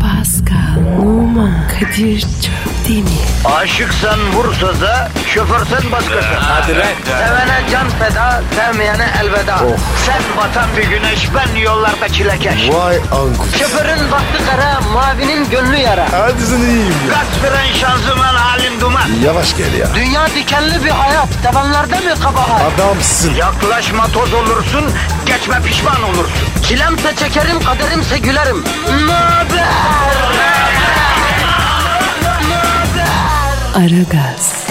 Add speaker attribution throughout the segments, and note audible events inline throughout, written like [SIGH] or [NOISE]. Speaker 1: Pascal, Oman, Kadir çok değil mi?
Speaker 2: Aşıksan vursa da şoförsen başkasın.
Speaker 3: Hadi lan.
Speaker 2: Sevene can feda, sevmeyene elveda.
Speaker 4: Oh.
Speaker 2: Sen batan bir güneş, ben yollarda çilekeş.
Speaker 4: Vay anku.
Speaker 2: Şoförün baktı kara, mavinin gönlü yara.
Speaker 4: Hadi sen iyiyim ya.
Speaker 2: Kasperen şanzıman halin duman.
Speaker 4: Yavaş gel ya.
Speaker 2: Dünya dikenli bir hayat, sevenlerde mi kabahar?
Speaker 4: Adamsın.
Speaker 2: Yaklaşma toz olursun, geçme pişman olursun. Çilemse çekerim, kaderimse gülerim. Möber!
Speaker 1: Aragaz,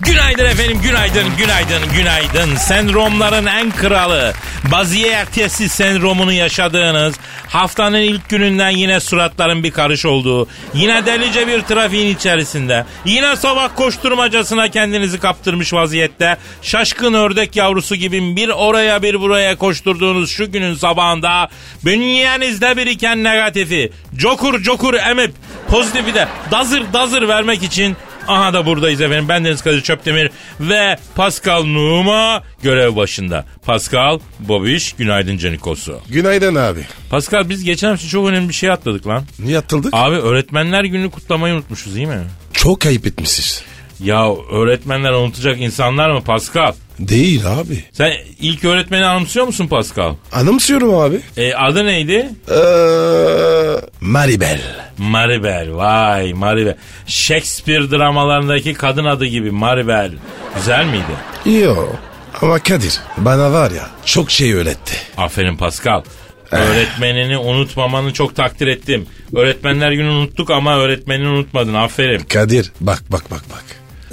Speaker 3: Günaydın efendim, günaydın, günaydın, günaydın. Sendromların en kralı, baziye ertesi sendromunu yaşadığınız, haftanın ilk gününden yine suratların bir karış olduğu, yine delice bir trafiğin içerisinde, yine sabah koşturmacasına kendinizi kaptırmış vaziyette, şaşkın ördek yavrusu gibi bir oraya bir buraya koşturduğunuz şu günün sabahında, bünyenizde biriken negatifi, cokur cokur emip, pozitifi de dazır dazır vermek için Aha da buradayız efendim. Ben Deniz Kadir Çöptemir ve Pascal Numa görev başında. Pascal, Bobiş, günaydın Canikosu.
Speaker 4: Günaydın abi.
Speaker 3: Pascal biz geçen hafta çok önemli bir şey atladık lan.
Speaker 4: Niye atıldık?
Speaker 3: Abi öğretmenler gününü kutlamayı unutmuşuz değil mi?
Speaker 4: Çok ayıp etmişiz.
Speaker 3: Ya öğretmenler unutacak insanlar mı Pascal?
Speaker 4: Değil abi.
Speaker 3: Sen ilk öğretmeni anımsıyor musun Pascal?
Speaker 4: Anımsıyorum abi.
Speaker 3: E, adı neydi?
Speaker 4: Ee, Maribel.
Speaker 3: Maribel. Vay Maribel. Shakespeare dramalarındaki kadın adı gibi Maribel. Güzel miydi?
Speaker 4: Yo. Ama Kadir bana var ya çok şey öğretti.
Speaker 3: Aferin Pascal. Öğretmenini unutmamanı çok takdir ettim. Öğretmenler günü unuttuk ama öğretmenini unutmadın. Aferin.
Speaker 4: Kadir bak bak bak bak.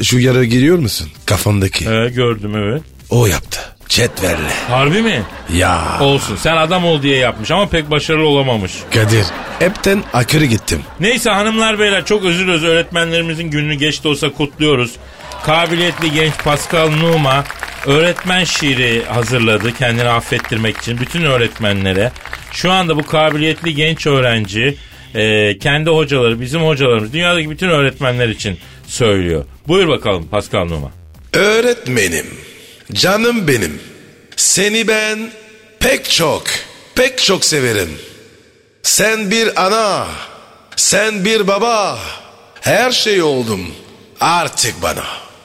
Speaker 4: Şu yara giriyor musun? Kafandaki.
Speaker 3: Ee, gördüm evet.
Speaker 4: O yaptı. Cetverle.
Speaker 3: Harbi mi?
Speaker 4: Ya.
Speaker 3: Olsun. Sen adam ol diye yapmış ama pek başarılı olamamış.
Speaker 4: Kadir. Hepten akırı gittim.
Speaker 3: Neyse hanımlar beyler çok özür dileriz. Öğretmenlerimizin gününü geç de olsa kutluyoruz. Kabiliyetli genç Pascal Numa öğretmen şiiri hazırladı kendini affettirmek için bütün öğretmenlere. Şu anda bu kabiliyetli genç öğrenci e, kendi hocaları, bizim hocalarımız, dünyadaki bütün öğretmenler için söylüyor. Buyur bakalım Pascal Numa.
Speaker 4: Öğretmenim, canım benim. Seni ben pek çok, pek çok severim. Sen bir ana, sen bir baba. Her şey oldum artık bana.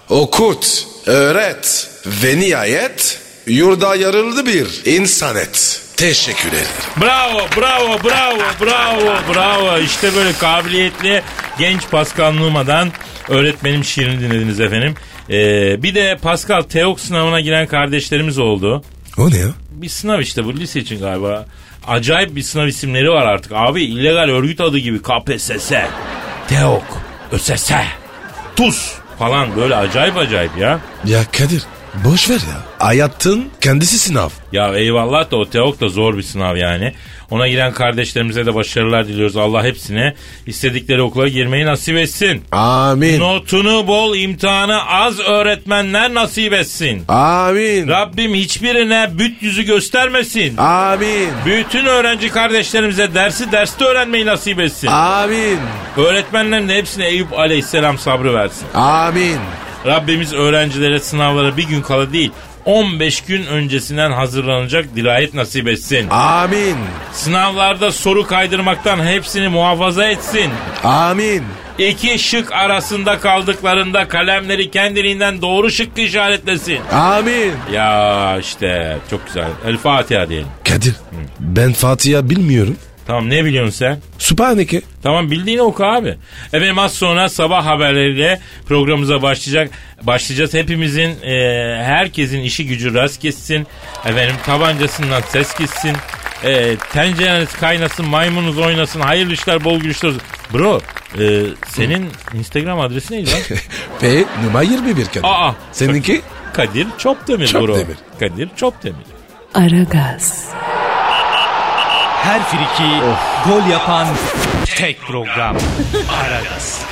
Speaker 4: Okut, öğret ve nihayet yurda yarıldı bir insan et. Teşekkür ederim.
Speaker 3: Bravo, bravo, bravo, bravo, bravo. İşte böyle kabiliyetli genç Pascal Numa'dan öğretmenim şiirini dinlediniz efendim. Ee, bir de Pascal Teok sınavına giren kardeşlerimiz oldu.
Speaker 4: O ne ya?
Speaker 3: Bir sınav işte bu lise için galiba. Acayip bir sınav isimleri var artık. Abi illegal örgüt adı gibi KPSS, Teok, ÖSS, TUS falan böyle acayip acayip ya.
Speaker 4: Ya Kadir, boş ver ya. Hayatın kendisi sınav.
Speaker 3: Ya eyvallah da o Teok da zor bir sınav yani. Ona giren kardeşlerimize de başarılar diliyoruz. Allah hepsine istedikleri okula girmeyi nasip etsin.
Speaker 4: Amin.
Speaker 3: Notunu bol, imtihanı az öğretmenler nasip etsin.
Speaker 4: Amin.
Speaker 3: Rabbim hiçbirine büt yüzü göstermesin.
Speaker 4: Amin.
Speaker 3: Bütün öğrenci kardeşlerimize dersi derste öğrenmeyi nasip etsin.
Speaker 4: Amin.
Speaker 3: Öğretmenlerin de hepsine Eyüp Aleyhisselam sabrı versin.
Speaker 4: Amin.
Speaker 3: Rabbimiz öğrencilere sınavlara bir gün kala değil 15 gün öncesinden hazırlanacak dirayet nasip etsin.
Speaker 4: Amin.
Speaker 3: Sınavlarda soru kaydırmaktan hepsini muhafaza etsin.
Speaker 4: Amin.
Speaker 3: İki şık arasında kaldıklarında kalemleri kendiliğinden doğru şıkkı işaretlesin.
Speaker 4: Amin.
Speaker 3: Ya işte çok güzel. El Fatiha diyelim.
Speaker 4: Kadir ben Fatih'i bilmiyorum.
Speaker 3: Tamam ne biliyorsun sen?
Speaker 4: Sübhaneke.
Speaker 3: Tamam bildiğini oku abi. Efendim az sonra sabah haberleriyle programımıza başlayacak. Başlayacağız. Hepimizin, e, herkesin işi gücü rast gitsin. Efendim tabancasından ses gitsin. E, tencereniz kaynasın, maymununuz oynasın. Hayırlı işler, bol gülüşler olsun. Bro, e, senin Instagram adresi neydi
Speaker 4: [LAUGHS]
Speaker 3: lan?
Speaker 4: [LAUGHS] Ve numara 21 Kadir.
Speaker 3: Aa.
Speaker 4: Seninki?
Speaker 3: Kadir Çopdemir
Speaker 4: Çopdemir.
Speaker 3: bro. Kadir Çopdemir.
Speaker 1: Aragaz,
Speaker 5: Her friki gol yapan tek program. Aragaz.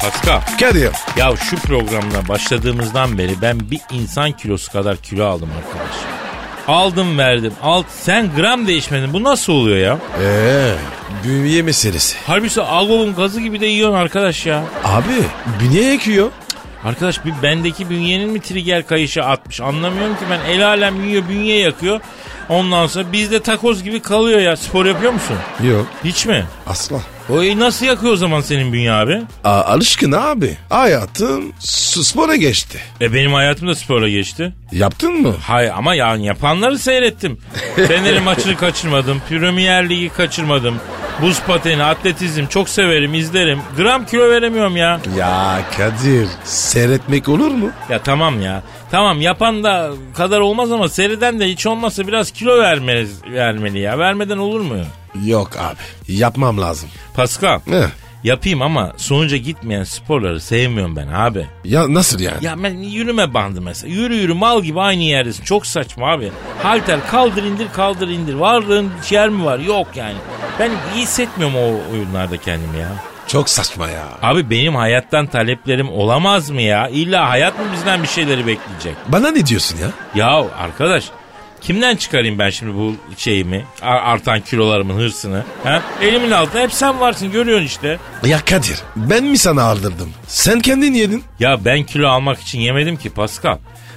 Speaker 3: Pascal.
Speaker 4: Kadir.
Speaker 3: Ya şu programla başladığımızdan beri ben bir insan kilosu kadar kilo aldım arkadaş. Aldım verdim. Al, sen gram değişmedin. Bu nasıl oluyor ya?
Speaker 4: Ee, Bünye meselesi.
Speaker 3: Halbuki Agob'un gazı gibi de yiyorsun arkadaş ya.
Speaker 4: Abi bünye ekiyor.
Speaker 3: Arkadaş bir bendeki bünyenin mi trigger kayışı atmış anlamıyorum ki ben el alem yiyor bünye yakıyor. Ondan sonra bizde takoz gibi kalıyor ya spor yapıyor musun?
Speaker 4: Yok
Speaker 3: Hiç mi?
Speaker 4: asla.
Speaker 3: O e, nasıl yakıyor o zaman senin bünye abi?
Speaker 4: A- alışkın abi. Hayatım s- spora geçti.
Speaker 3: E benim hayatım da sporla geçti.
Speaker 4: Yaptın mı?
Speaker 3: Hay ama yani yapanları seyrettim. Fener'in maçını kaçırmadım. Premier Ligi kaçırmadım. Buz pateni, atletizm çok severim, izlerim. Gram kilo veremiyorum ya.
Speaker 4: Ya Kadir seyretmek olur mu?
Speaker 3: Ya tamam ya. Tamam yapan da kadar olmaz ama seriden de hiç olmazsa biraz kilo vermeliz, vermeli ya. Vermeden olur mu?
Speaker 4: Yok abi yapmam lazım.
Speaker 3: Pascal.
Speaker 4: Ne?
Speaker 3: Yapayım ama sonuca gitmeyen sporları sevmiyorum ben abi.
Speaker 4: Ya nasıl yani?
Speaker 3: Ya ben yürüme bandı mesela. Yürü yürü mal gibi aynı yerdesin. Çok saçma abi. Halter kaldır indir kaldır indir. Varlığın yer mi var? Yok yani. Ben iyi hissetmiyorum o oyunlarda kendimi ya.
Speaker 4: Çok saçma ya.
Speaker 3: Abi benim hayattan taleplerim olamaz mı ya? İlla hayat mı bizden bir şeyleri bekleyecek?
Speaker 4: Bana ne diyorsun ya?
Speaker 3: Ya arkadaş kimden çıkarayım ben şimdi bu şeyimi? a- Artan kilolarımın hırsını. Ha? Elimin altında hep sen varsın görüyorsun işte.
Speaker 4: Ya Kadir ben mi sana aldırdım? Sen kendin yedin.
Speaker 3: Ya ben kilo almak için yemedim ki Pascal.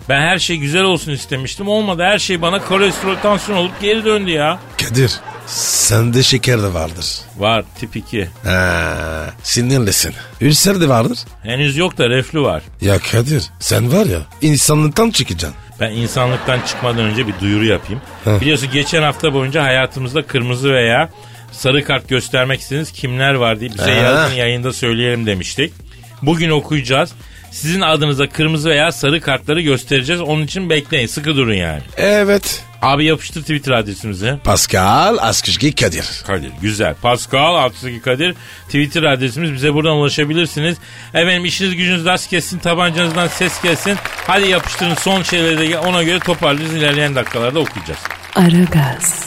Speaker 3: Ben her şey güzel olsun istemiştim. Olmadı her şey bana kolesterol tansiyon olup geri döndü ya.
Speaker 4: Kadir sende şeker de vardır.
Speaker 3: Var tip 2.
Speaker 4: Ha, sinirlisin. Ülser de vardır.
Speaker 3: Henüz yok da reflü var.
Speaker 4: Ya Kadir sen var ya insanlıktan çıkacaksın.
Speaker 3: Ben insanlıktan çıkmadan önce bir duyuru yapayım.
Speaker 4: Heh.
Speaker 3: Biliyorsun geçen hafta boyunca hayatımızda kırmızı veya sarı kart göstermek istediğiniz kimler var diye bize
Speaker 4: Heh.
Speaker 3: yazın yayında söyleyelim demiştik. Bugün okuyacağız. Sizin adınıza kırmızı veya sarı kartları göstereceğiz. Onun için bekleyin sıkı durun yani.
Speaker 4: Evet.
Speaker 3: Abi yapıştır Twitter adresimizi.
Speaker 4: Pascal Askışki Kadir.
Speaker 3: Kadir. Güzel. Pascal Altçıki Kadir. Twitter adresimiz. Bize buradan ulaşabilirsiniz. Efendim işiniz gücünüz rast kessin. Tabancanızdan ses gelsin. Hadi yapıştırın son şeyleri de ona göre toparlayacağız. İlerleyen dakikalarda okuyacağız.
Speaker 1: Aragaz,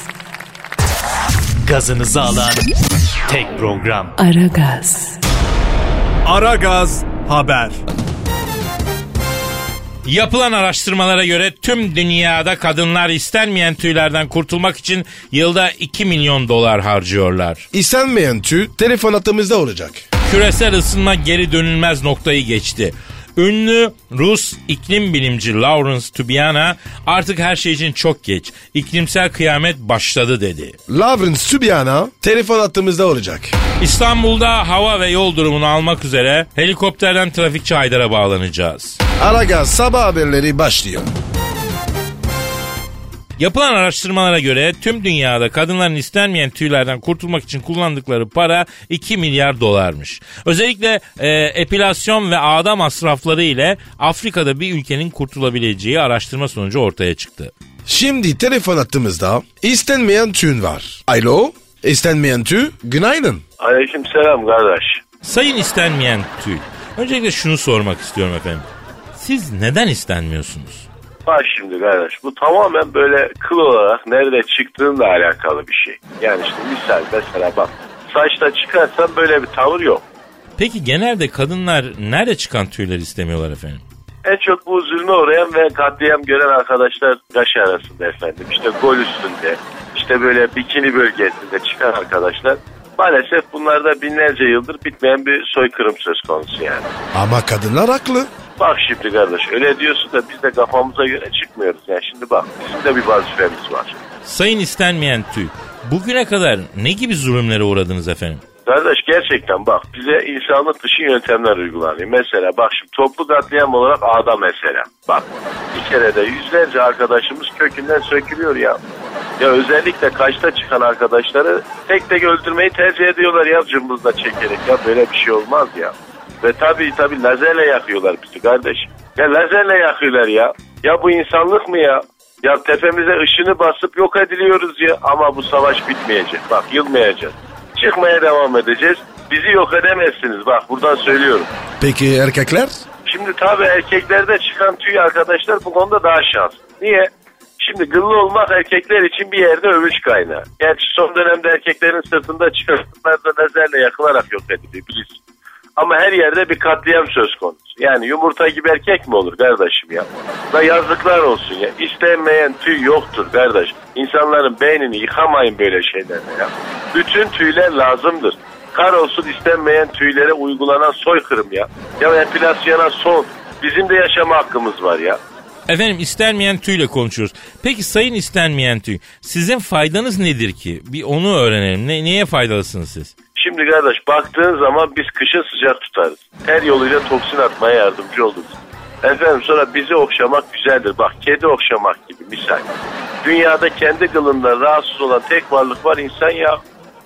Speaker 5: Gazınızı alan tek program.
Speaker 1: Aragaz,
Speaker 5: Ara Gaz Haber.
Speaker 3: Yapılan araştırmalara göre tüm dünyada kadınlar istenmeyen tüylerden kurtulmak için yılda 2 milyon dolar harcıyorlar.
Speaker 4: İstenmeyen tüy telefon hattımızda olacak.
Speaker 3: Küresel ısınma geri dönülmez noktayı geçti. Ünlü Rus iklim bilimci Lawrence Tubiana artık her şey için çok geç. İklimsel kıyamet başladı dedi.
Speaker 4: Lavrin Sübiana telefon hattımızda olacak.
Speaker 3: İstanbul'da hava ve yol durumunu almak üzere helikopterden trafikçi Haydar'a bağlanacağız.
Speaker 4: Aragaz sabah haberleri başlıyor.
Speaker 3: Yapılan araştırmalara göre tüm dünyada kadınların istenmeyen tüylerden kurtulmak için kullandıkları para 2 milyar dolarmış. Özellikle e, epilasyon ve ağda masrafları ile Afrika'da bir ülkenin kurtulabileceği araştırma sonucu ortaya çıktı.
Speaker 4: Şimdi telefon hattımızda istenmeyen tüyün var. Alo istenmeyen tüy günaydın.
Speaker 6: Aleyküm selam kardeş.
Speaker 3: Sayın istenmeyen tüy. Öncelikle şunu sormak istiyorum efendim. Siz neden istenmiyorsunuz?
Speaker 6: Bak şimdi kardeş bu tamamen böyle kıl olarak nerede çıktığınla alakalı bir şey. Yani işte misal mesela bak saçta çıkarsan böyle bir tavır yok.
Speaker 3: Peki genelde kadınlar nerede çıkan tüyleri istemiyorlar efendim?
Speaker 6: En çok bu zulme uğrayan ve katliam gören arkadaşlar kaş arasında efendim. İşte gol üstünde, işte böyle bikini bölgesinde çıkan arkadaşlar. Maalesef bunlarda binlerce yıldır bitmeyen bir soykırım söz konusu yani.
Speaker 4: Ama kadınlar haklı.
Speaker 6: Bak şimdi kardeş öyle diyorsun da biz de kafamıza göre çıkmıyoruz. Yani şimdi bak bizim de bir vazifemiz var.
Speaker 3: Sayın istenmeyen tüy. Bugüne kadar ne gibi zulümlere uğradınız efendim?
Speaker 6: Kardeş gerçekten bak bize insanlık dışı yöntemler uygulanıyor. Mesela bak şimdi toplu katliam olarak ağda mesela. Bak bir kere de yüzlerce arkadaşımız kökünden sökülüyor ya. Ya özellikle kaçta çıkan arkadaşları tek tek öldürmeyi tercih ediyorlar ya cımbızla çekerek. Ya böyle bir şey olmaz ya. Ve tabii tabii lazerle yakıyorlar bizi kardeş. Ya lazerle yakıyorlar ya. Ya bu insanlık mı ya? Ya tepemize ışını basıp yok ediliyoruz ya. Ama bu savaş bitmeyecek. Bak yılmayacağız. Çıkmaya devam edeceğiz. Bizi yok edemezsiniz. Bak buradan söylüyorum.
Speaker 4: Peki erkekler?
Speaker 6: Şimdi tabii erkeklerde çıkan tüy arkadaşlar bu konuda daha şans. Niye? Şimdi gıllı olmak erkekler için bir yerde övünç kaynağı. Gerçi son dönemde erkeklerin sırtında çıkanlar da lazerle yakılarak yok ediliyor bilirsin. Ama her yerde bir katliam söz konusu. Yani yumurta gibi erkek mi olur kardeşim ya? Da yazıklar olsun ya. İstenmeyen tüy yoktur kardeş. İnsanların beynini yıkamayın böyle şeylerle ya. Bütün tüyler lazımdır. Kar olsun istenmeyen tüylere uygulanan soykırım ya. Ya enflasyona son. Bizim de yaşama hakkımız var ya.
Speaker 3: Efendim istenmeyen tüyle konuşuyoruz. Peki sayın istenmeyen tüy sizin faydanız nedir ki? Bir onu öğrenelim. Ne, neye faydalısınız siz?
Speaker 6: Şimdi kardeş baktığın zaman biz kışın sıcak tutarız. Her yoluyla toksin atmaya yardımcı oluruz. Efendim sonra bizi okşamak güzeldir. Bak kedi okşamak gibi misal. Dünyada kendi kılından rahatsız olan tek varlık var insan ya.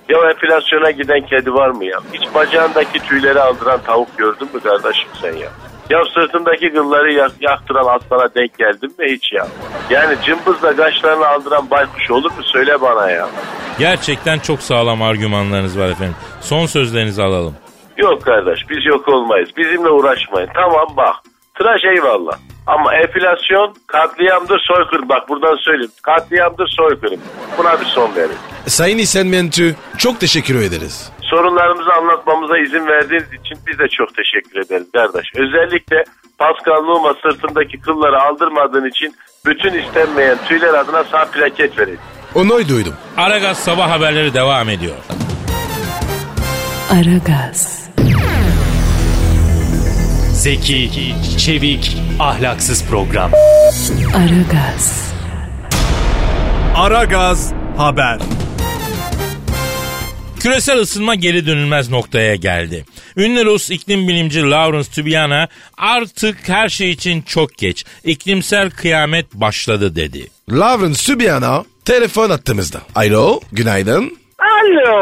Speaker 6: Ya enflasyona giden kedi var mı ya? Hiç bacağındaki tüyleri aldıran tavuk gördün mü kardeşim sen ya? Ya sırtındaki kılları yak- yaktıran aslana denk geldin mi hiç ya? Yani cımbızla kaşlarını aldıran baykuş olur mu söyle bana ya.
Speaker 3: Gerçekten çok sağlam argümanlarınız var efendim. Son sözlerinizi alalım.
Speaker 6: Yok kardeş biz yok olmayız. Bizimle uğraşmayın. Tamam bak. Tıraş eyvallah. Ama enflasyon katliamdır soykırım. Bak buradan söyleyeyim. Katliamdır soykırım. Buna bir son verin.
Speaker 4: Sayın İstenmeyen Tüy çok teşekkür ederiz.
Speaker 6: Sorunlarımızı anlatmamıza izin verdiğiniz için biz de çok teşekkür ederiz kardeş. Özellikle Pascal Numa sırtındaki kılları aldırmadığın için bütün istenmeyen tüyler adına sağ plaket verin.
Speaker 4: Onu duydum.
Speaker 3: Aragaz sabah haberleri devam ediyor.
Speaker 1: Aragaz,
Speaker 5: Zeki, çevik, ahlaksız program.
Speaker 1: Aragaz,
Speaker 5: Aragaz haber.
Speaker 3: Küresel ısınma geri dönülmez noktaya geldi. Ünlü Rus iklim bilimci Lawrence Tubiana artık her şey için çok geç. İklimsel kıyamet başladı dedi.
Speaker 4: Lauren Sübiana telefon attığımızda. Alo, günaydın.
Speaker 7: Алло,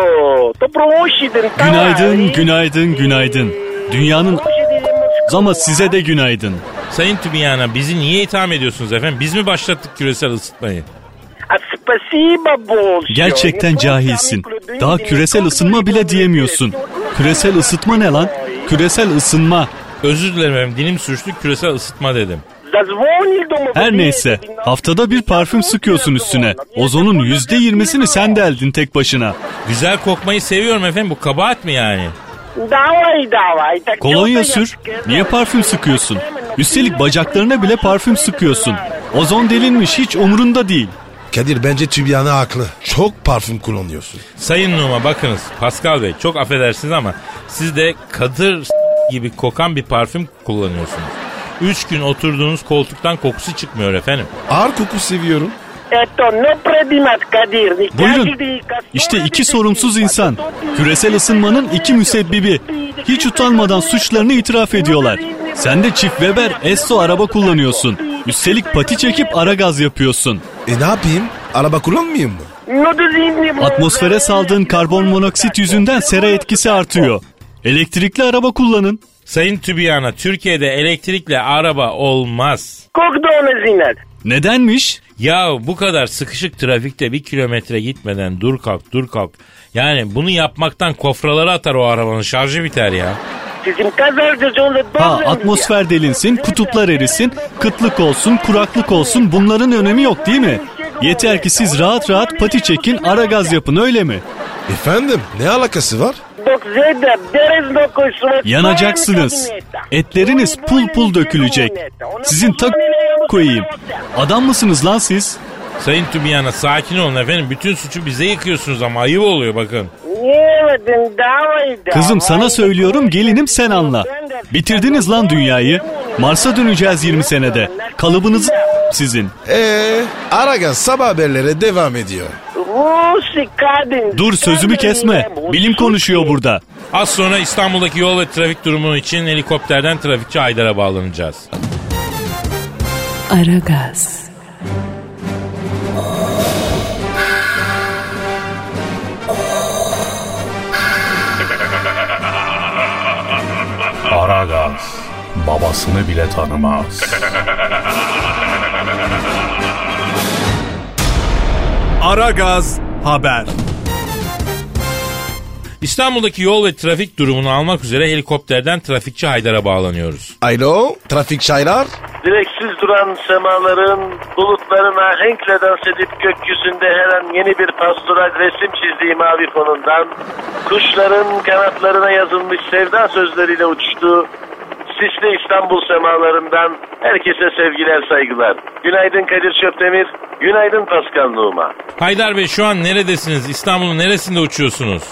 Speaker 7: доброго утра,
Speaker 5: Günaydın, günaydın, günaydın. Dünyanın ama size de günaydın.
Speaker 3: Sayın Tubiana bizi niye itham ediyorsunuz efendim? Biz mi başlattık küresel ısıtmayı?
Speaker 5: Gerçekten cahilsin. Daha küresel ısınma bile diyemiyorsun. Küresel ısıtma ne lan? Küresel ısınma.
Speaker 3: Özür dilerim efendim dilim sürçtü küresel ısıtma dedim.
Speaker 5: Her neyse haftada bir parfüm sıkıyorsun üstüne. Ozonun yüzde yirmisini sen deldin tek başına.
Speaker 3: Güzel kokmayı seviyorum efendim bu kabahat mi yani?
Speaker 5: Kolonya sür. Niye parfüm sıkıyorsun? Üstelik bacaklarına bile parfüm sıkıyorsun. Ozon delinmiş hiç umurunda değil.
Speaker 4: Kadir bence Sübiana haklı. Çok parfüm kullanıyorsun.
Speaker 3: Sayın Numa bakınız Pascal Bey çok affedersiniz ama siz de kadır s- gibi kokan bir parfüm kullanıyorsunuz. Üç gün oturduğunuz koltuktan kokusu çıkmıyor efendim.
Speaker 4: Ağır koku seviyorum.
Speaker 5: Buyurun. İşte iki sorumsuz insan. Küresel ısınmanın iki müsebbibi. Hiç utanmadan suçlarını itiraf ediyorlar. Sen de çift Weber Esso araba kullanıyorsun. Üstelik pati çekip ara gaz yapıyorsun.
Speaker 4: E ne yapayım? Araba kullanmayayım mı?
Speaker 5: Atmosfere saldığın karbon monoksit yüzünden sera etkisi artıyor. Elektrikli araba kullanın.
Speaker 3: Sayın Tübiyana Türkiye'de elektrikle araba olmaz.
Speaker 5: Nedenmiş?
Speaker 3: Ya bu kadar sıkışık trafikte bir kilometre gitmeden dur kalk dur kalk. Yani bunu yapmaktan kofraları atar o arabanın şarjı biter ya.
Speaker 5: Ha atmosfer delinsin, kutuplar erisin, kıtlık olsun, kuraklık olsun bunların önemi yok değil mi? Yeter ki siz rahat rahat pati çekin, ara gaz yapın öyle mi?
Speaker 4: Efendim ne alakası var?
Speaker 5: Yanacaksınız. Etleriniz pul pul dökülecek. Sizin tak koyayım. Adam mısınız lan siz?
Speaker 3: Sayın Tübiyana sakin olun efendim. Bütün suçu bize yıkıyorsunuz ama ayıp oluyor bakın.
Speaker 5: Kızım sana söylüyorum gelinim sen anla. Bitirdiniz lan dünyayı. Mars'a döneceğiz 20 senede. Kalıbınız sizin.
Speaker 4: Eee E, Aragaz sabah haberlere devam ediyor.
Speaker 5: Dur sözümü kesme. Bilim konuşuyor burada.
Speaker 3: Az sonra İstanbul'daki yol ve trafik durumu için helikopterden trafikçi Aydar'a bağlanacağız.
Speaker 1: Aragaz,
Speaker 8: Aragaz babasını bile tanımaz.
Speaker 5: Aragaz haber.
Speaker 3: İstanbul'daki yol ve trafik durumunu almak üzere helikopterden trafikçi Haydar'a bağlanıyoruz.
Speaker 4: Alo trafik çaylar.
Speaker 6: Direksiz duran semaların, bulutların ahenkle dans edip gökyüzünde her an yeni bir pastoral resim çizdiği mavi fonundan, kuşların kanatlarına yazılmış sevda sözleriyle uçtu. Sisli İstanbul semalarından herkese sevgiler saygılar. Günaydın Kadir Çöptemir, günaydın Pascal Numa.
Speaker 3: Haydar Bey şu an neredesiniz? İstanbul'un neresinde uçuyorsunuz?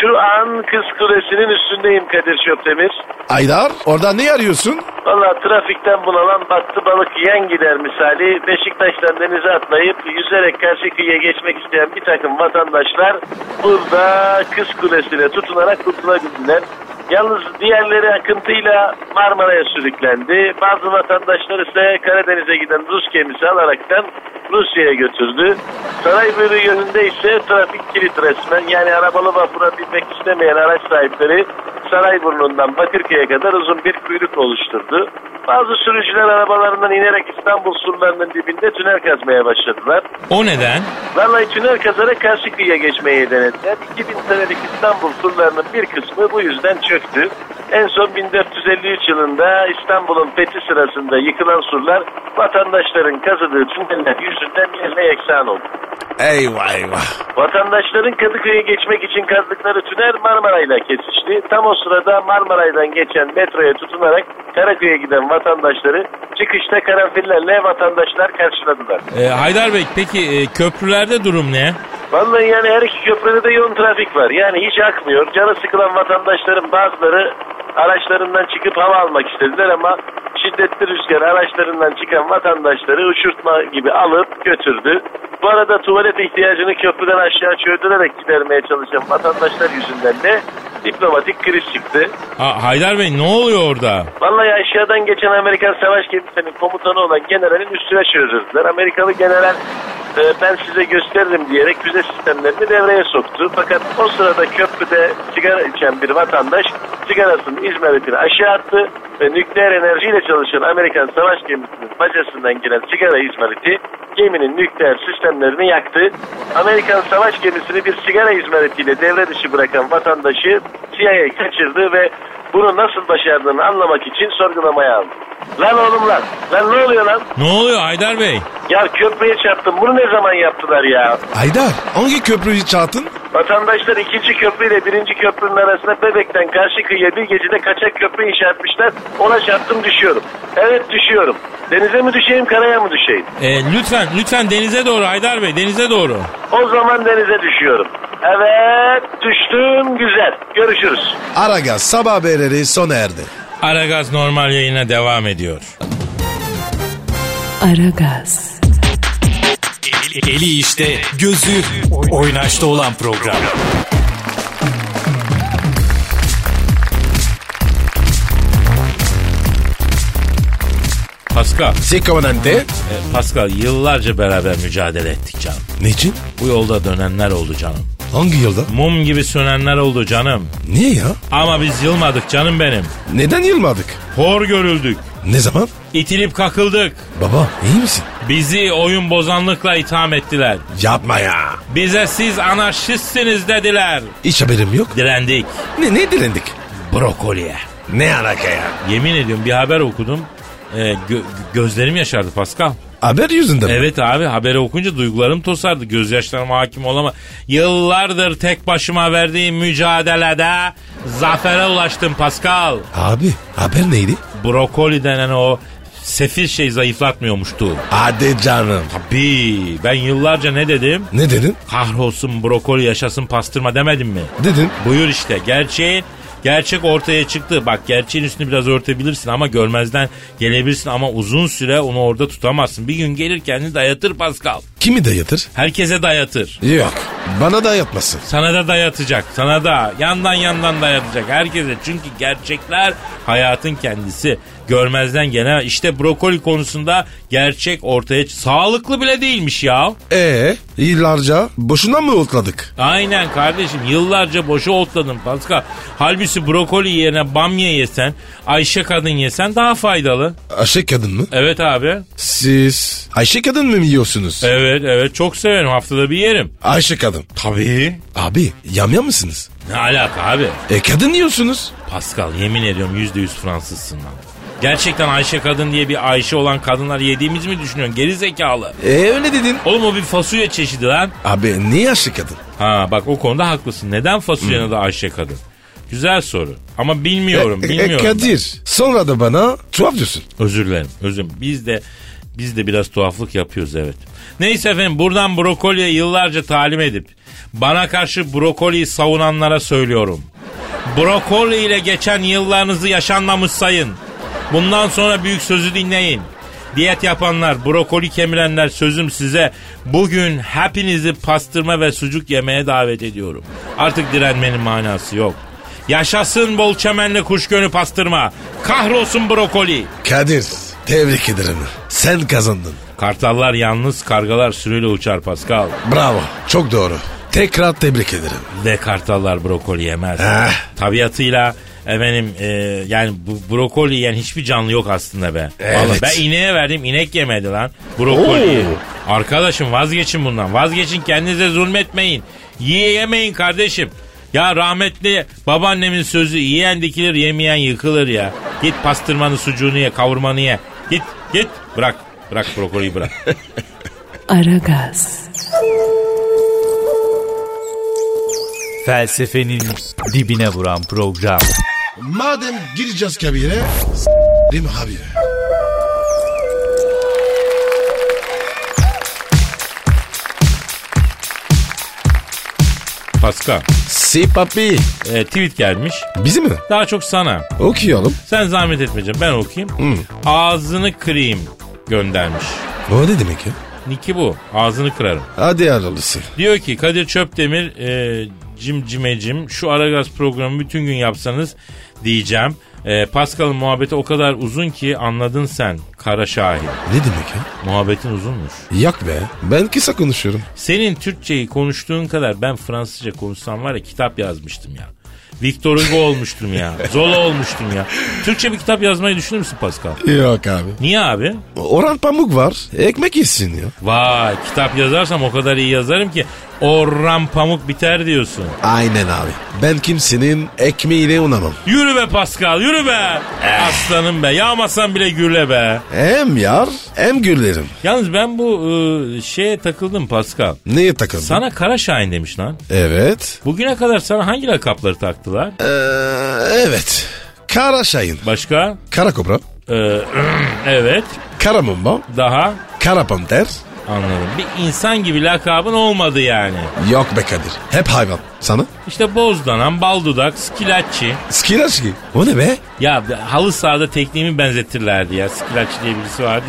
Speaker 6: Şu an Kız Kulesi'nin üstündeyim Kadir Çöptemir.
Speaker 4: Aydar orada ne arıyorsun?
Speaker 6: Valla trafikten bunalan battı balık yiyen gider misali Beşiktaş'tan denize atlayıp yüzerek karşı kıyıya geçmek isteyen bir takım vatandaşlar burada kız kulesine tutunarak kurtulabildiler. Yalnız diğerleri akıntıyla Marmara'ya sürüklendi. Bazı vatandaşlar ise Karadeniz'e giden Rus gemisi alaraktan Rusya'ya götürdü. Sarayburnu yönünde ise trafik kilit resmen. Yani arabalı vapura binmek istemeyen araç sahipleri Sarayburnu'ndan Bakırköy'e kadar uzun bir kuyruk oluşturdu. Bazı sürücüler arabalarından inerek İstanbul surlarının dibinde tünel kazmaya başladılar.
Speaker 3: O neden?
Speaker 6: Vallahi tünel kazarak karşı kıyıya geçmeyi denediler. 2000 senelik İstanbul surlarının bir kısmı bu yüzden çöktü. En son 1453 yılında İstanbul'un fethi sırasında yıkılan surlar vatandaşların kazıdığı tüneller yüzünden yerle yeksan oldu.
Speaker 4: Eyvah eyvah.
Speaker 6: Vatandaşların Kadıköy'e geçmek için kazdıkları tünel Marmaray'la kesişti. Tam o sırada Marmaray'dan geçen metroya tutunarak Karaköy'e giden vatandaşları çıkışta karanfillerle vatandaşlar karşıladılar.
Speaker 3: Ee, Haydar Bey peki e, köprülerde durum ne?
Speaker 6: Vallahi yani her iki köprüde de yoğun trafik var. Yani hiç akmıyor. Canı sıkılan vatandaşların bazıları araçlarından çıkıp hava almak istediler ama şiddetli rüzgar araçlarından çıkan vatandaşları uçurtma gibi alıp götürdü. Bu arada tuvalet ihtiyacını köprüden aşağı çöldürerek gidermeye çalışan vatandaşlar yüzünden de diplomatik kriz çıktı.
Speaker 3: Ha, Haydar Bey ne oluyor orada?
Speaker 6: Vallahi aşağıdan geçen Amerikan savaş gemisinin komutanı olan generalin üstüne çözüldüler. Amerikalı general e, ben size gösteririm diyerek füze sistemlerini devreye soktu. Fakat o sırada köprüde sigara içen bir vatandaş sigarasının izmaritini aşağı attı ve nükleer enerjiyle çalışan Amerikan savaş gemisinin bacasından giren sigara izmariti geminin nükleer sistemlerini yaktı. Amerikan savaş gemisini bir sigara izmaritiyle devre dışı bırakan vatandaşı CIA kaçırdı ve bunu nasıl başardığını anlamak için sorgulamaya aldım. Lan oğlum lan. Lan ne oluyor lan?
Speaker 3: Ne oluyor Haydar Bey?
Speaker 6: Ya köprüye çarptım. Bunu ne zaman yaptılar ya?
Speaker 4: Aydar hangi köprüyü çarptın?
Speaker 6: Vatandaşlar ikinci köprü ile birinci köprünün arasında bebekten karşı kıyıya bir gecede kaçak köprü inşa etmişler. Ona çarptım düşüyorum. Evet düşüyorum. Denize mi düşeyim karaya mı düşeyim?
Speaker 3: Ee, lütfen lütfen denize doğru Haydar Bey denize doğru.
Speaker 6: O zaman denize düşüyorum. Evet düştüm güzel. Görüşürüz.
Speaker 4: Aragaz sabah haberleri sona erdi.
Speaker 3: Aragaz normal yayına devam ediyor.
Speaker 1: Aragaz,
Speaker 9: Eli işte, gözü oynaşta olan program.
Speaker 3: Pascal,
Speaker 4: Sekomandante.
Speaker 3: e, Pascal yıllarca beraber mücadele ettik canım.
Speaker 4: Niçin?
Speaker 3: Bu yolda dönenler oldu canım.
Speaker 4: Hangi yılda?
Speaker 3: Mum gibi sönenler oldu canım.
Speaker 4: Niye ya?
Speaker 3: Ama biz yılmadık canım benim.
Speaker 4: Neden yılmadık?
Speaker 3: Hor görüldük.
Speaker 4: Ne zaman?
Speaker 3: İtilip kakıldık.
Speaker 4: Baba iyi misin?
Speaker 3: Bizi oyun bozanlıkla itham ettiler.
Speaker 4: Yapma ya.
Speaker 3: Bize siz anarşistsiniz dediler.
Speaker 4: Hiç haberim yok.
Speaker 3: Direndik.
Speaker 4: Ne, ne dilendik?
Speaker 3: Brokoliye.
Speaker 4: Ne alaka ya?
Speaker 3: Yemin ediyorum bir haber okudum. Ee, gö- gözlerim yaşardı Pascal.
Speaker 4: Haber yüzünden mi?
Speaker 3: Evet abi haberi okunca duygularım tosardı. Gözyaşlarıma hakim olama. Yıllardır tek başıma verdiğim mücadelede zafere ulaştım Pascal.
Speaker 4: Abi haber neydi?
Speaker 3: Brokoli denen o sefil şey zayıflatmıyormuştu.
Speaker 4: Hadi canım.
Speaker 3: Tabii ben yıllarca ne dedim?
Speaker 4: Ne dedin?
Speaker 3: Kahrolsun brokoli yaşasın pastırma demedim mi?
Speaker 4: Dedin.
Speaker 3: Buyur işte gerçeğin Gerçek ortaya çıktı. Bak gerçeğin üstünü biraz örtebilirsin ama görmezden gelebilirsin ama uzun süre onu orada tutamazsın. Bir gün gelir kendini dayatır Pascal.
Speaker 4: Kimi dayatır?
Speaker 3: Herkese dayatır.
Speaker 4: Yok. Bana da yapmasın.
Speaker 3: Sana da dayatacak. Sana da yandan yandan dayatacak. Herkese. Çünkü gerçekler hayatın kendisi. Görmezden gelen. İşte brokoli konusunda gerçek ortaya çı- Sağlıklı bile değilmiş ya.
Speaker 4: Ee, yıllarca boşuna mı otladık?
Speaker 3: Aynen kardeşim yıllarca boşa otladın Pascal. Halbuki brokoli yerine bamya yesen, Ayşe kadın yesen daha faydalı.
Speaker 4: Ayşe kadın mı?
Speaker 3: Evet abi.
Speaker 4: Siz Ayşe kadın mı yiyorsunuz?
Speaker 3: Evet. Evet evet çok severim haftada bir yerim.
Speaker 4: Ayşe kadın.
Speaker 3: Tabii.
Speaker 4: Abi yamyam mısınız?
Speaker 3: Ne alaka abi?
Speaker 4: E kadın diyorsunuz.
Speaker 3: Pascal yemin ediyorum yüzde yüz Fransızsın lan. Gerçekten Ayşe kadın diye bir Ayşe olan kadınlar yediğimiz mi düşünüyorsun? Geri zekalı.
Speaker 4: E öyle dedin.
Speaker 3: Oğlum o bir fasulye çeşidi lan.
Speaker 4: Abi niye Ayşe [LAUGHS] kadın?
Speaker 3: Ha bak o konuda haklısın. Neden fasulyenin adı Ayşe kadın? Güzel soru. Ama bilmiyorum,
Speaker 4: E, e,
Speaker 3: bilmiyorum. ben.
Speaker 4: Kadir sonra da bana tuhaf diyorsun.
Speaker 3: Özür dilerim. Özür dilerim. Biz de biz de biraz tuhaflık yapıyoruz evet. Neyse efendim buradan brokoliye yıllarca talim edip bana karşı brokoliyi savunanlara söylüyorum. Brokoli ile geçen yıllarınızı yaşanmamış sayın. Bundan sonra büyük sözü dinleyin. Diyet yapanlar, brokoli kemirenler sözüm size bugün hepinizi pastırma ve sucuk yemeye davet ediyorum. Artık direnmenin manası yok. Yaşasın bol çemenli kuş gönü pastırma. Kahrolsun brokoli.
Speaker 4: Kadir tebrik ederim. Sen kazandın.
Speaker 3: Kartallar yalnız, kargalar sürüyle uçar Pascal.
Speaker 4: Bravo. Çok doğru. Tekrar tebrik ederim.
Speaker 3: Ve kartallar brokoli yemez.
Speaker 4: Eh.
Speaker 3: Tabiatıyla efendim e, yani bu brokoli yiyen hiçbir canlı yok aslında be. Vallahi ben ineğe verdim inek yemedi lan brokoliyi. Arkadaşım vazgeçin bundan. Vazgeçin kendinize zulmetmeyin. Yiye yemeyin kardeşim. Ya rahmetli babaannemin sözü yiyen dikilir yemeyen yıkılır ya. Git pastırmanı sucuğunu ye kavurmanı ye. Git git bırak bırak brokoliyi bırak.
Speaker 1: Aragaz,
Speaker 9: Felsefenin dibine vuran program.
Speaker 4: Madem gireceğiz kabire s**rim abi.
Speaker 3: Pascal
Speaker 4: Si papi.
Speaker 3: e, tweet gelmiş.
Speaker 4: Bizi mi?
Speaker 3: Daha çok sana.
Speaker 4: Okuyalım.
Speaker 3: Sen zahmet etmeyeceğim. Ben okuyayım. Ağzını kırayım göndermiş.
Speaker 4: O ne demek ya?
Speaker 3: Niki bu. Ağzını kırarım.
Speaker 4: Hadi aralısı.
Speaker 3: Diyor ki Kadir Çöpdemir e, cimcimecim şu Aragaz programı bütün gün yapsanız diyeceğim. E, Pascal'ın muhabbeti o kadar uzun ki anladın sen kara şahin.
Speaker 4: Ne demek ya?
Speaker 3: Muhabbetin uzunmuş.
Speaker 4: Yak be. Ben kısa konuşuyorum.
Speaker 3: Senin Türkçeyi konuştuğun kadar ben Fransızca konuşsam var ya kitap yazmıştım ya. Victor Hugo olmuştum ya. Zola olmuştum ya. Türkçe bir kitap yazmayı düşünür müsün Pascal?
Speaker 4: Yok abi.
Speaker 3: Niye abi?
Speaker 4: Orhan Pamuk var. Ekmek yesin ya.
Speaker 3: Vay kitap yazarsam o kadar iyi yazarım ki Orhan Pamuk biter diyorsun.
Speaker 4: Aynen abi. Ben kimsenin ekmeğiyle unamam.
Speaker 3: Yürü be Pascal yürü be. Aslanım be yağmasan bile güle be.
Speaker 4: Hem yar hem güllerim.
Speaker 3: Yalnız ben bu e, şeye takıldım Pascal.
Speaker 4: Neye takıldın?
Speaker 3: Sana Kara Şahin demiş lan.
Speaker 4: Evet.
Speaker 3: Bugüne kadar sana hangi lakapları taktılar?
Speaker 4: Ee, evet. Kara Şahin.
Speaker 3: Başka?
Speaker 4: Kara Kobra.
Speaker 3: E, [CLEARS THROAT] evet.
Speaker 4: Kara Mumba.
Speaker 3: Daha
Speaker 4: Kara Panter.
Speaker 3: anladım. Bir insan gibi lakabın olmadı yani.
Speaker 4: Yok be Kadir. Hep hayvan. Sana?
Speaker 3: İşte bozdanan, baldudak, skilatçı.
Speaker 4: Skiraçki. O ne be?
Speaker 3: Ya halı sahada tekniğimi benzetirlerdi ya. Skilatçı diye birisi vardı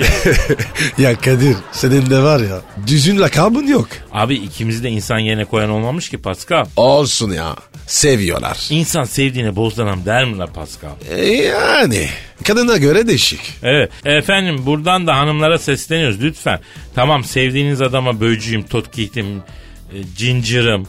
Speaker 4: [LAUGHS]
Speaker 3: ya.
Speaker 4: ya Kadir senin de var ya düzün lakabın yok.
Speaker 3: Abi ikimizi de insan yerine koyan olmamış ki Pascal.
Speaker 4: Olsun ya. Seviyorlar.
Speaker 3: İnsan sevdiğine bozdanam der mi la Pascal?
Speaker 4: E, yani kadına göre değişik.
Speaker 3: Evet. Efendim buradan da hanımlara sesleniyoruz lütfen. Tamam sevdiğiniz adama böcüğüm, totkihtim, e, cincirim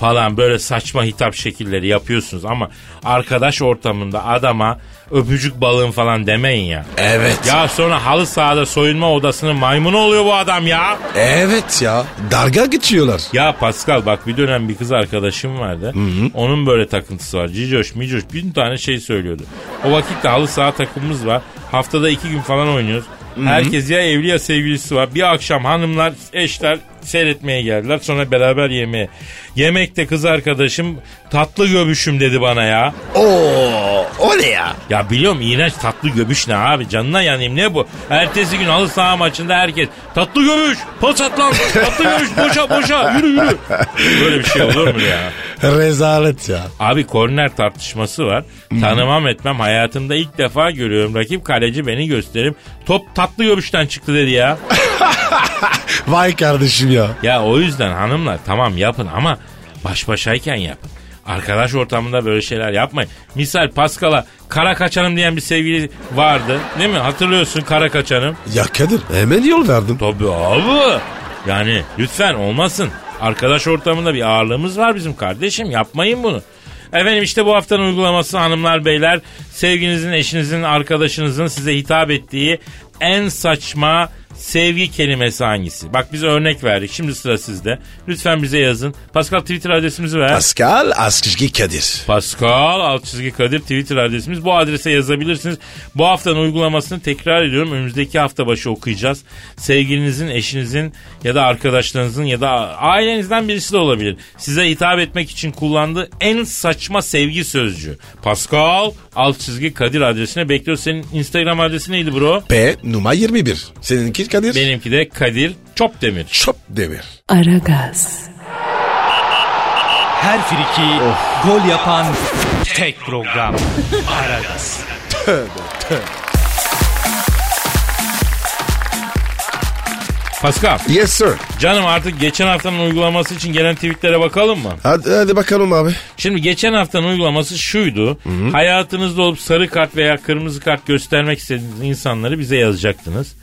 Speaker 3: falan böyle saçma hitap şekilleri yapıyorsunuz ama arkadaş ortamında adama öpücük balığım falan demeyin ya.
Speaker 4: Evet.
Speaker 3: Ya sonra halı sahada soyunma odasının maymunu oluyor bu adam ya.
Speaker 4: Evet ya. Darga geçiyorlar.
Speaker 3: Ya Pascal bak bir dönem bir kız arkadaşım vardı. Onun böyle takıntısı var. Cicoş, micoş bin tane şey söylüyordu. O vakitte halı saha takımımız var. Haftada iki gün falan oynuyoruz. Herkes ya evli ya sevgilisi var. Bir akşam hanımlar, eşler seyretmeye geldiler. Sonra beraber yemeğe. Yemekte kız arkadaşım tatlı göbüşüm dedi bana ya.
Speaker 4: Oo, o ne ya?
Speaker 3: Ya biliyorum iğrenç tatlı göbüş ne abi canına yanayım ne bu? Ertesi gün halı saha maçında herkes tatlı göbüş pas at lan tatlı göbüş boşa boşa yürü yürü. Böyle bir şey olur mu ya?
Speaker 4: Rezalet ya.
Speaker 3: Abi korner tartışması var. Tanımam etmem hayatımda ilk defa görüyorum. Rakip kaleci beni gösterim. Top tatlı göbüşten çıktı dedi ya.
Speaker 4: Vay kardeşim ya.
Speaker 3: Ya o yüzden hanımlar tamam yapın ama baş başayken yapın. Arkadaş ortamında böyle şeyler yapmayın. Misal Paskal'a kara kaçanım diyen bir sevgili vardı. Değil mi? Hatırlıyorsun kara kaçanım.
Speaker 4: Ya Kadir hemen yol verdim.
Speaker 3: Tabii abi. Yani lütfen olmasın. Arkadaş ortamında bir ağırlığımız var bizim kardeşim. Yapmayın bunu. Efendim işte bu haftanın uygulaması hanımlar beyler. Sevginizin, eşinizin, arkadaşınızın size hitap ettiği en saçma sevgi kelimesi hangisi? Bak biz örnek verdik. Şimdi sıra sizde. Lütfen bize yazın. Pascal Twitter adresimizi ver.
Speaker 4: Pascal Askışki Kadir.
Speaker 3: Pascal alt çizgi Kadir Twitter adresimiz. Bu adrese yazabilirsiniz. Bu haftanın uygulamasını tekrar ediyorum. Önümüzdeki hafta başı okuyacağız. Sevgilinizin, eşinizin ya da arkadaşlarınızın ya da ailenizden birisi de olabilir. Size hitap etmek için kullandığı en saçma sevgi sözcüğü. Pascal alt çizgi Kadir adresine bekliyoruz. Senin Instagram adresi neydi bro?
Speaker 4: P numara 21. Seninki Kadir?
Speaker 3: Benimki de Kadir Çopdemir.
Speaker 4: Şop demir.
Speaker 1: Aragaz,
Speaker 9: Her friki
Speaker 5: Oh.
Speaker 9: gol yapan tek program. Aragaz.
Speaker 3: Pascal
Speaker 4: Yes sir.
Speaker 3: canım artık geçen haftanın uygulaması için gelen tweetlere bakalım mı?
Speaker 4: Hadi, hadi bakalım abi.
Speaker 3: Şimdi geçen haftanın uygulaması şuydu. Hayatınızda olup sarı kart veya kırmızı kart göstermek istediğiniz insanları bize yazacaktınız.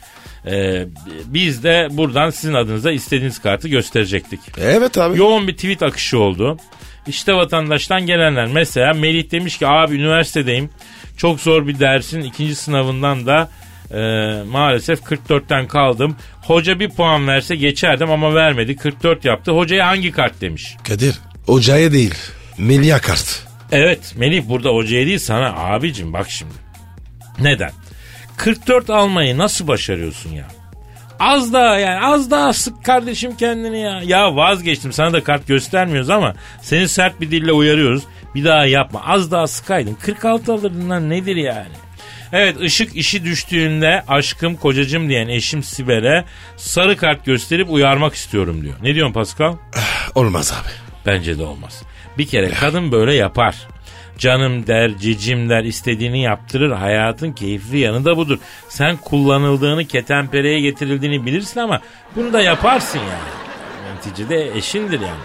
Speaker 3: Ee, biz de buradan sizin adınıza istediğiniz kartı gösterecektik.
Speaker 4: Evet abi.
Speaker 3: Yoğun bir tweet akışı oldu. İşte vatandaştan gelenler. Mesela Melih demiş ki abi üniversitedeyim. Çok zor bir dersin ikinci sınavından da e, maalesef 44'ten kaldım. Hoca bir puan verse geçerdim ama vermedi. 44 yaptı. Hocaya hangi kart demiş.
Speaker 4: Kadir. Ocağı değil. Milya kart.
Speaker 3: Evet Melih burada hocaya değil sana abicim bak şimdi. Neden? 44 almayı nasıl başarıyorsun ya? Az daha yani az daha sık kardeşim kendini ya. Ya vazgeçtim sana da kart göstermiyoruz ama seni sert bir dille uyarıyoruz. Bir daha yapma az daha sıkaydın. 46 alırdın lan nedir yani? Evet ışık işi düştüğünde aşkım kocacım diyen eşim Sibel'e sarı kart gösterip uyarmak istiyorum diyor. Ne diyorsun Pascal?
Speaker 4: Olmaz abi.
Speaker 3: Bence de olmaz. Bir kere kadın böyle yapar. Canım der, cicim der, istediğini yaptırır. Hayatın keyifli yanı da budur. Sen kullanıldığını, ketenpereye getirildiğini bilirsin ama bunu da yaparsın yani. Neticede eşindir yani.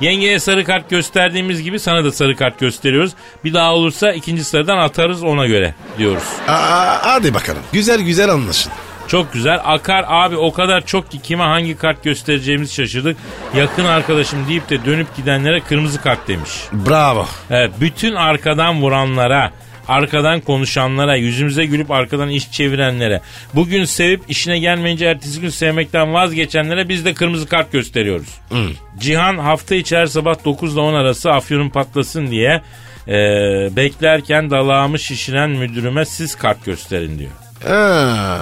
Speaker 3: Yengeye sarı kart gösterdiğimiz gibi sana da sarı kart gösteriyoruz. Bir daha olursa ikinci sıradan atarız ona göre diyoruz.
Speaker 4: Aa, hadi bakalım. Güzel güzel anlaşın.
Speaker 3: Çok güzel. Akar abi o kadar çok ki kime hangi kart göstereceğimizi şaşırdık. Yakın arkadaşım deyip de dönüp gidenlere kırmızı kart demiş.
Speaker 4: Bravo.
Speaker 3: Evet, Ee, bütün arkadan vuranlara, arkadan konuşanlara, yüzümüze gülüp arkadan iş çevirenlere, bugün sevip işine gelmeyince ertesi gün sevmekten vazgeçenlere biz de kırmızı kart gösteriyoruz. Cihan hafta içi her sabah 9 ile 10 arası afyonun patlasın diye e, beklerken dalağımı şişiren müdürüme siz kart gösterin diyor.
Speaker 4: Ha,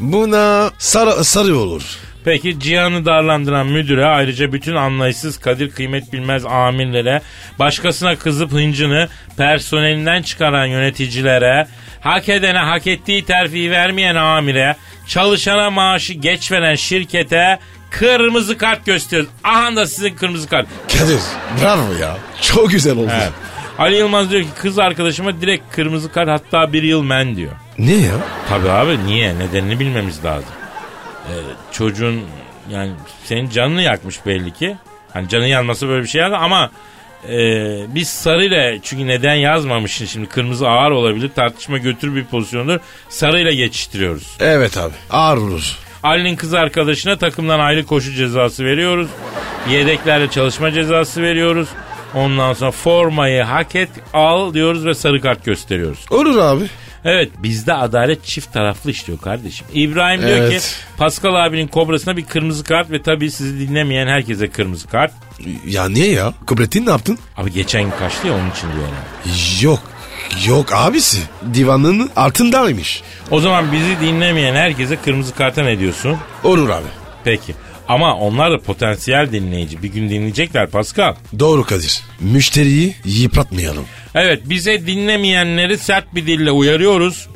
Speaker 4: buna sarı, sarı olur.
Speaker 3: Peki Cihan'ı darlandıran müdüre ayrıca bütün anlayışsız kadir kıymet bilmez amirlere, başkasına kızıp hıncını personelinden çıkaran yöneticilere, hak edene hak ettiği terfiyi vermeyen amire, çalışana maaşı geç veren şirkete kırmızı kart gösteriyoruz. Aha da sizin kırmızı kart.
Speaker 4: Kadir bravo ya. Çok güzel oldu.
Speaker 3: Evet. Ali Yılmaz diyor ki kız arkadaşıma direkt kırmızı kart hatta bir yıl men diyor.
Speaker 4: Ne ya?
Speaker 3: Tabii abi niye? Nedenini bilmemiz lazım. Ee, çocuğun yani senin canını yakmış belli ki. Hani canı yanması böyle bir şey yani ama e, biz sarıyla çünkü neden yazmamışsın şimdi kırmızı ağır olabilir tartışma götür bir pozisyondur sarıyla geçiştiriyoruz.
Speaker 4: Evet abi ağır olur.
Speaker 3: Ali'nin kız arkadaşına takımdan ayrı koşu cezası veriyoruz. Yedeklerle çalışma cezası veriyoruz. Ondan sonra formayı hak et al diyoruz ve sarı kart gösteriyoruz.
Speaker 4: Olur abi.
Speaker 3: Evet bizde adalet çift taraflı işliyor kardeşim. İbrahim diyor ki
Speaker 4: Evet.
Speaker 3: Pascal abinin kobrasına bir kırmızı kart ve tabii sizi dinlemeyen herkese kırmızı kart.
Speaker 4: Ya niye ya? Kubrettin ne yaptın?
Speaker 3: Abi geçen gün kaçtı ya onun için diyor. yani.
Speaker 4: Yok. Yok abisi. Divanın altındaymış.
Speaker 3: O zaman bizi dinlemeyen herkese kırmızı karta ne diyorsun?
Speaker 4: Olur abi.
Speaker 3: Peki. Ama onlar da potansiyel dinleyici. Bir gün dinleyecekler Pascal.
Speaker 4: Doğru Kadir. Müşteriyi yıpratmayalım.
Speaker 3: Evet bize dinlemeyenleri sert bir dille uyarıyoruz.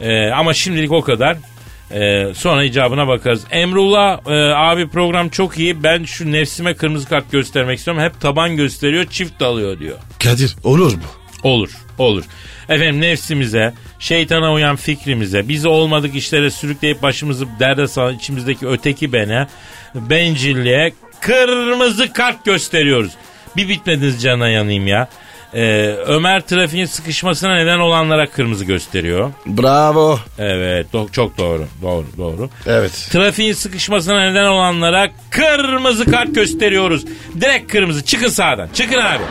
Speaker 3: Ee, ama şimdilik o kadar. Ee, sonra icabına bakarız. Emrullah e, abi program çok iyi. Ben şu nefsime kırmızı kart göstermek istiyorum. Hep taban gösteriyor çift alıyor diyor.
Speaker 4: Kadir olur mu?
Speaker 3: Olur olur. Efendim nefsimize, şeytana uyan fikrimize, bizi olmadık işlere sürükleyip başımızı derde salan içimizdeki öteki bene, bencilliğe kırmızı kart gösteriyoruz. Bir bitmediniz cana yanayım ya. Ee, Ömer trafiğin sıkışmasına neden olanlara kırmızı gösteriyor.
Speaker 4: Bravo.
Speaker 3: Evet do- çok doğru doğru doğru.
Speaker 4: Evet.
Speaker 3: Trafiğin sıkışmasına neden olanlara kırmızı kart gösteriyoruz. Direkt kırmızı. Çıkın sağdan. Çıkın abi.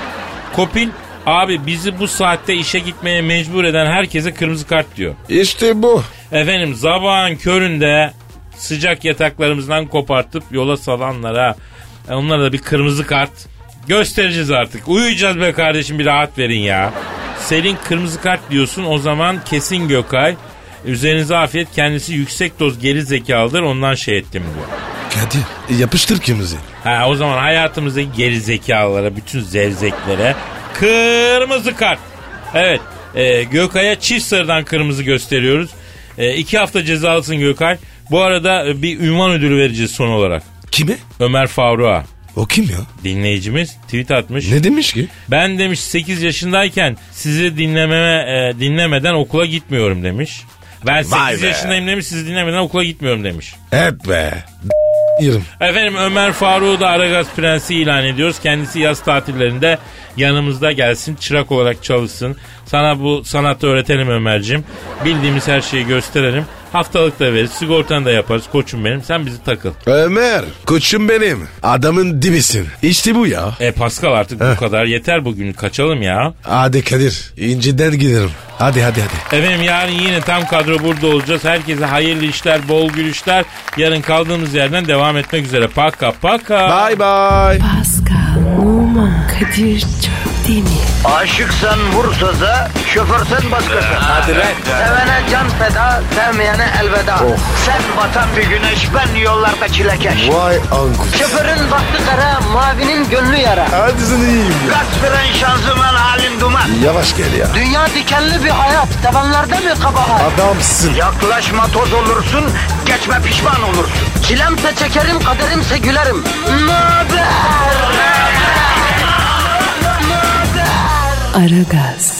Speaker 3: Kopil abi bizi bu saatte işe gitmeye mecbur eden herkese kırmızı kart diyor.
Speaker 4: İşte bu.
Speaker 3: Efendim sabahın köründe sıcak yataklarımızdan kopartıp yola salanlara e, onlara da bir kırmızı kart göstereceğiz artık. Uyuyacağız be kardeşim bir rahat verin ya. Selin kırmızı kart diyorsun o zaman kesin Gökay. Üzerinize afiyet kendisi yüksek doz geri zekalıdır ondan şey ettim diyor.
Speaker 4: Kadir yapıştır kimizi.
Speaker 3: Ha o zaman hayatımızdaki geri zekalara, bütün zevzeklere kırmızı kart. Evet, e, Gökay'a çift sarıdan kırmızı gösteriyoruz. E, iki hafta cezalısın Gökay. Bu arada e, bir ünvan ödülü vereceğiz son olarak.
Speaker 4: Kimi?
Speaker 3: Ömer Faruk'a
Speaker 4: O kim ya?
Speaker 3: dinleyicimiz tweet atmış.
Speaker 4: Ne demiş ki?
Speaker 3: Ben demiş 8 yaşındayken sizi dinlememe e, dinlemeden okula gitmiyorum demiş. Ben 8
Speaker 4: Vay be.
Speaker 3: yaşındayım demiş sizi dinlemeden okula gitmiyorum demiş.
Speaker 4: Hep be. Yerim.
Speaker 3: Efendim Ömer Faruk'u da Aragaz Prensi ilan ediyoruz. Kendisi yaz tatillerinde yanımızda gelsin, çırak olarak çalışsın. Sana bu sanatı öğretelim Ömer'cim. Bildiğimiz her şeyi gösterelim. Haftalık da veririz, sigortanı da yaparız koçum benim. Sen bizi takıl.
Speaker 4: Ömer koçum benim. Adamın dibisin. İşte bu ya.
Speaker 3: E Pascal artık bu kadar yeter bugün kaçalım ya.
Speaker 4: Hadi Kadir inciden giderim. Hadi hadi hadi.
Speaker 3: Efendim yarın yine tam kadro burada olacağız. Herkese hayırlı işler, bol gülüşler. Yarın kaldığımız yerden devam etmek üzere. Paka paka.
Speaker 4: Bye bye.
Speaker 1: Pascal, Oman, Kadir çok değil mi?
Speaker 2: Aşıksan vursa da, şoförsen başkasın. Hadi Sevene can feda, sevmeyene elveda. Sen batan bir güneş, ben yollarda çilekeş.
Speaker 4: Vay anku.
Speaker 2: Şoförün baktı kara, mavinin gönlü yara.
Speaker 4: Hadi sen iyiyim ya.
Speaker 2: Kasperen şanzıman halin duman.
Speaker 4: Yavaş gel ya.
Speaker 2: Dünya dikenli bir hayat, sevenlerde mi kabahar?
Speaker 4: Adamsın.
Speaker 2: Yaklaşma toz olursun, geçme pişman olursun. Çilemse çekerim, kaderimse gülerim. Möber!
Speaker 1: Aragaz.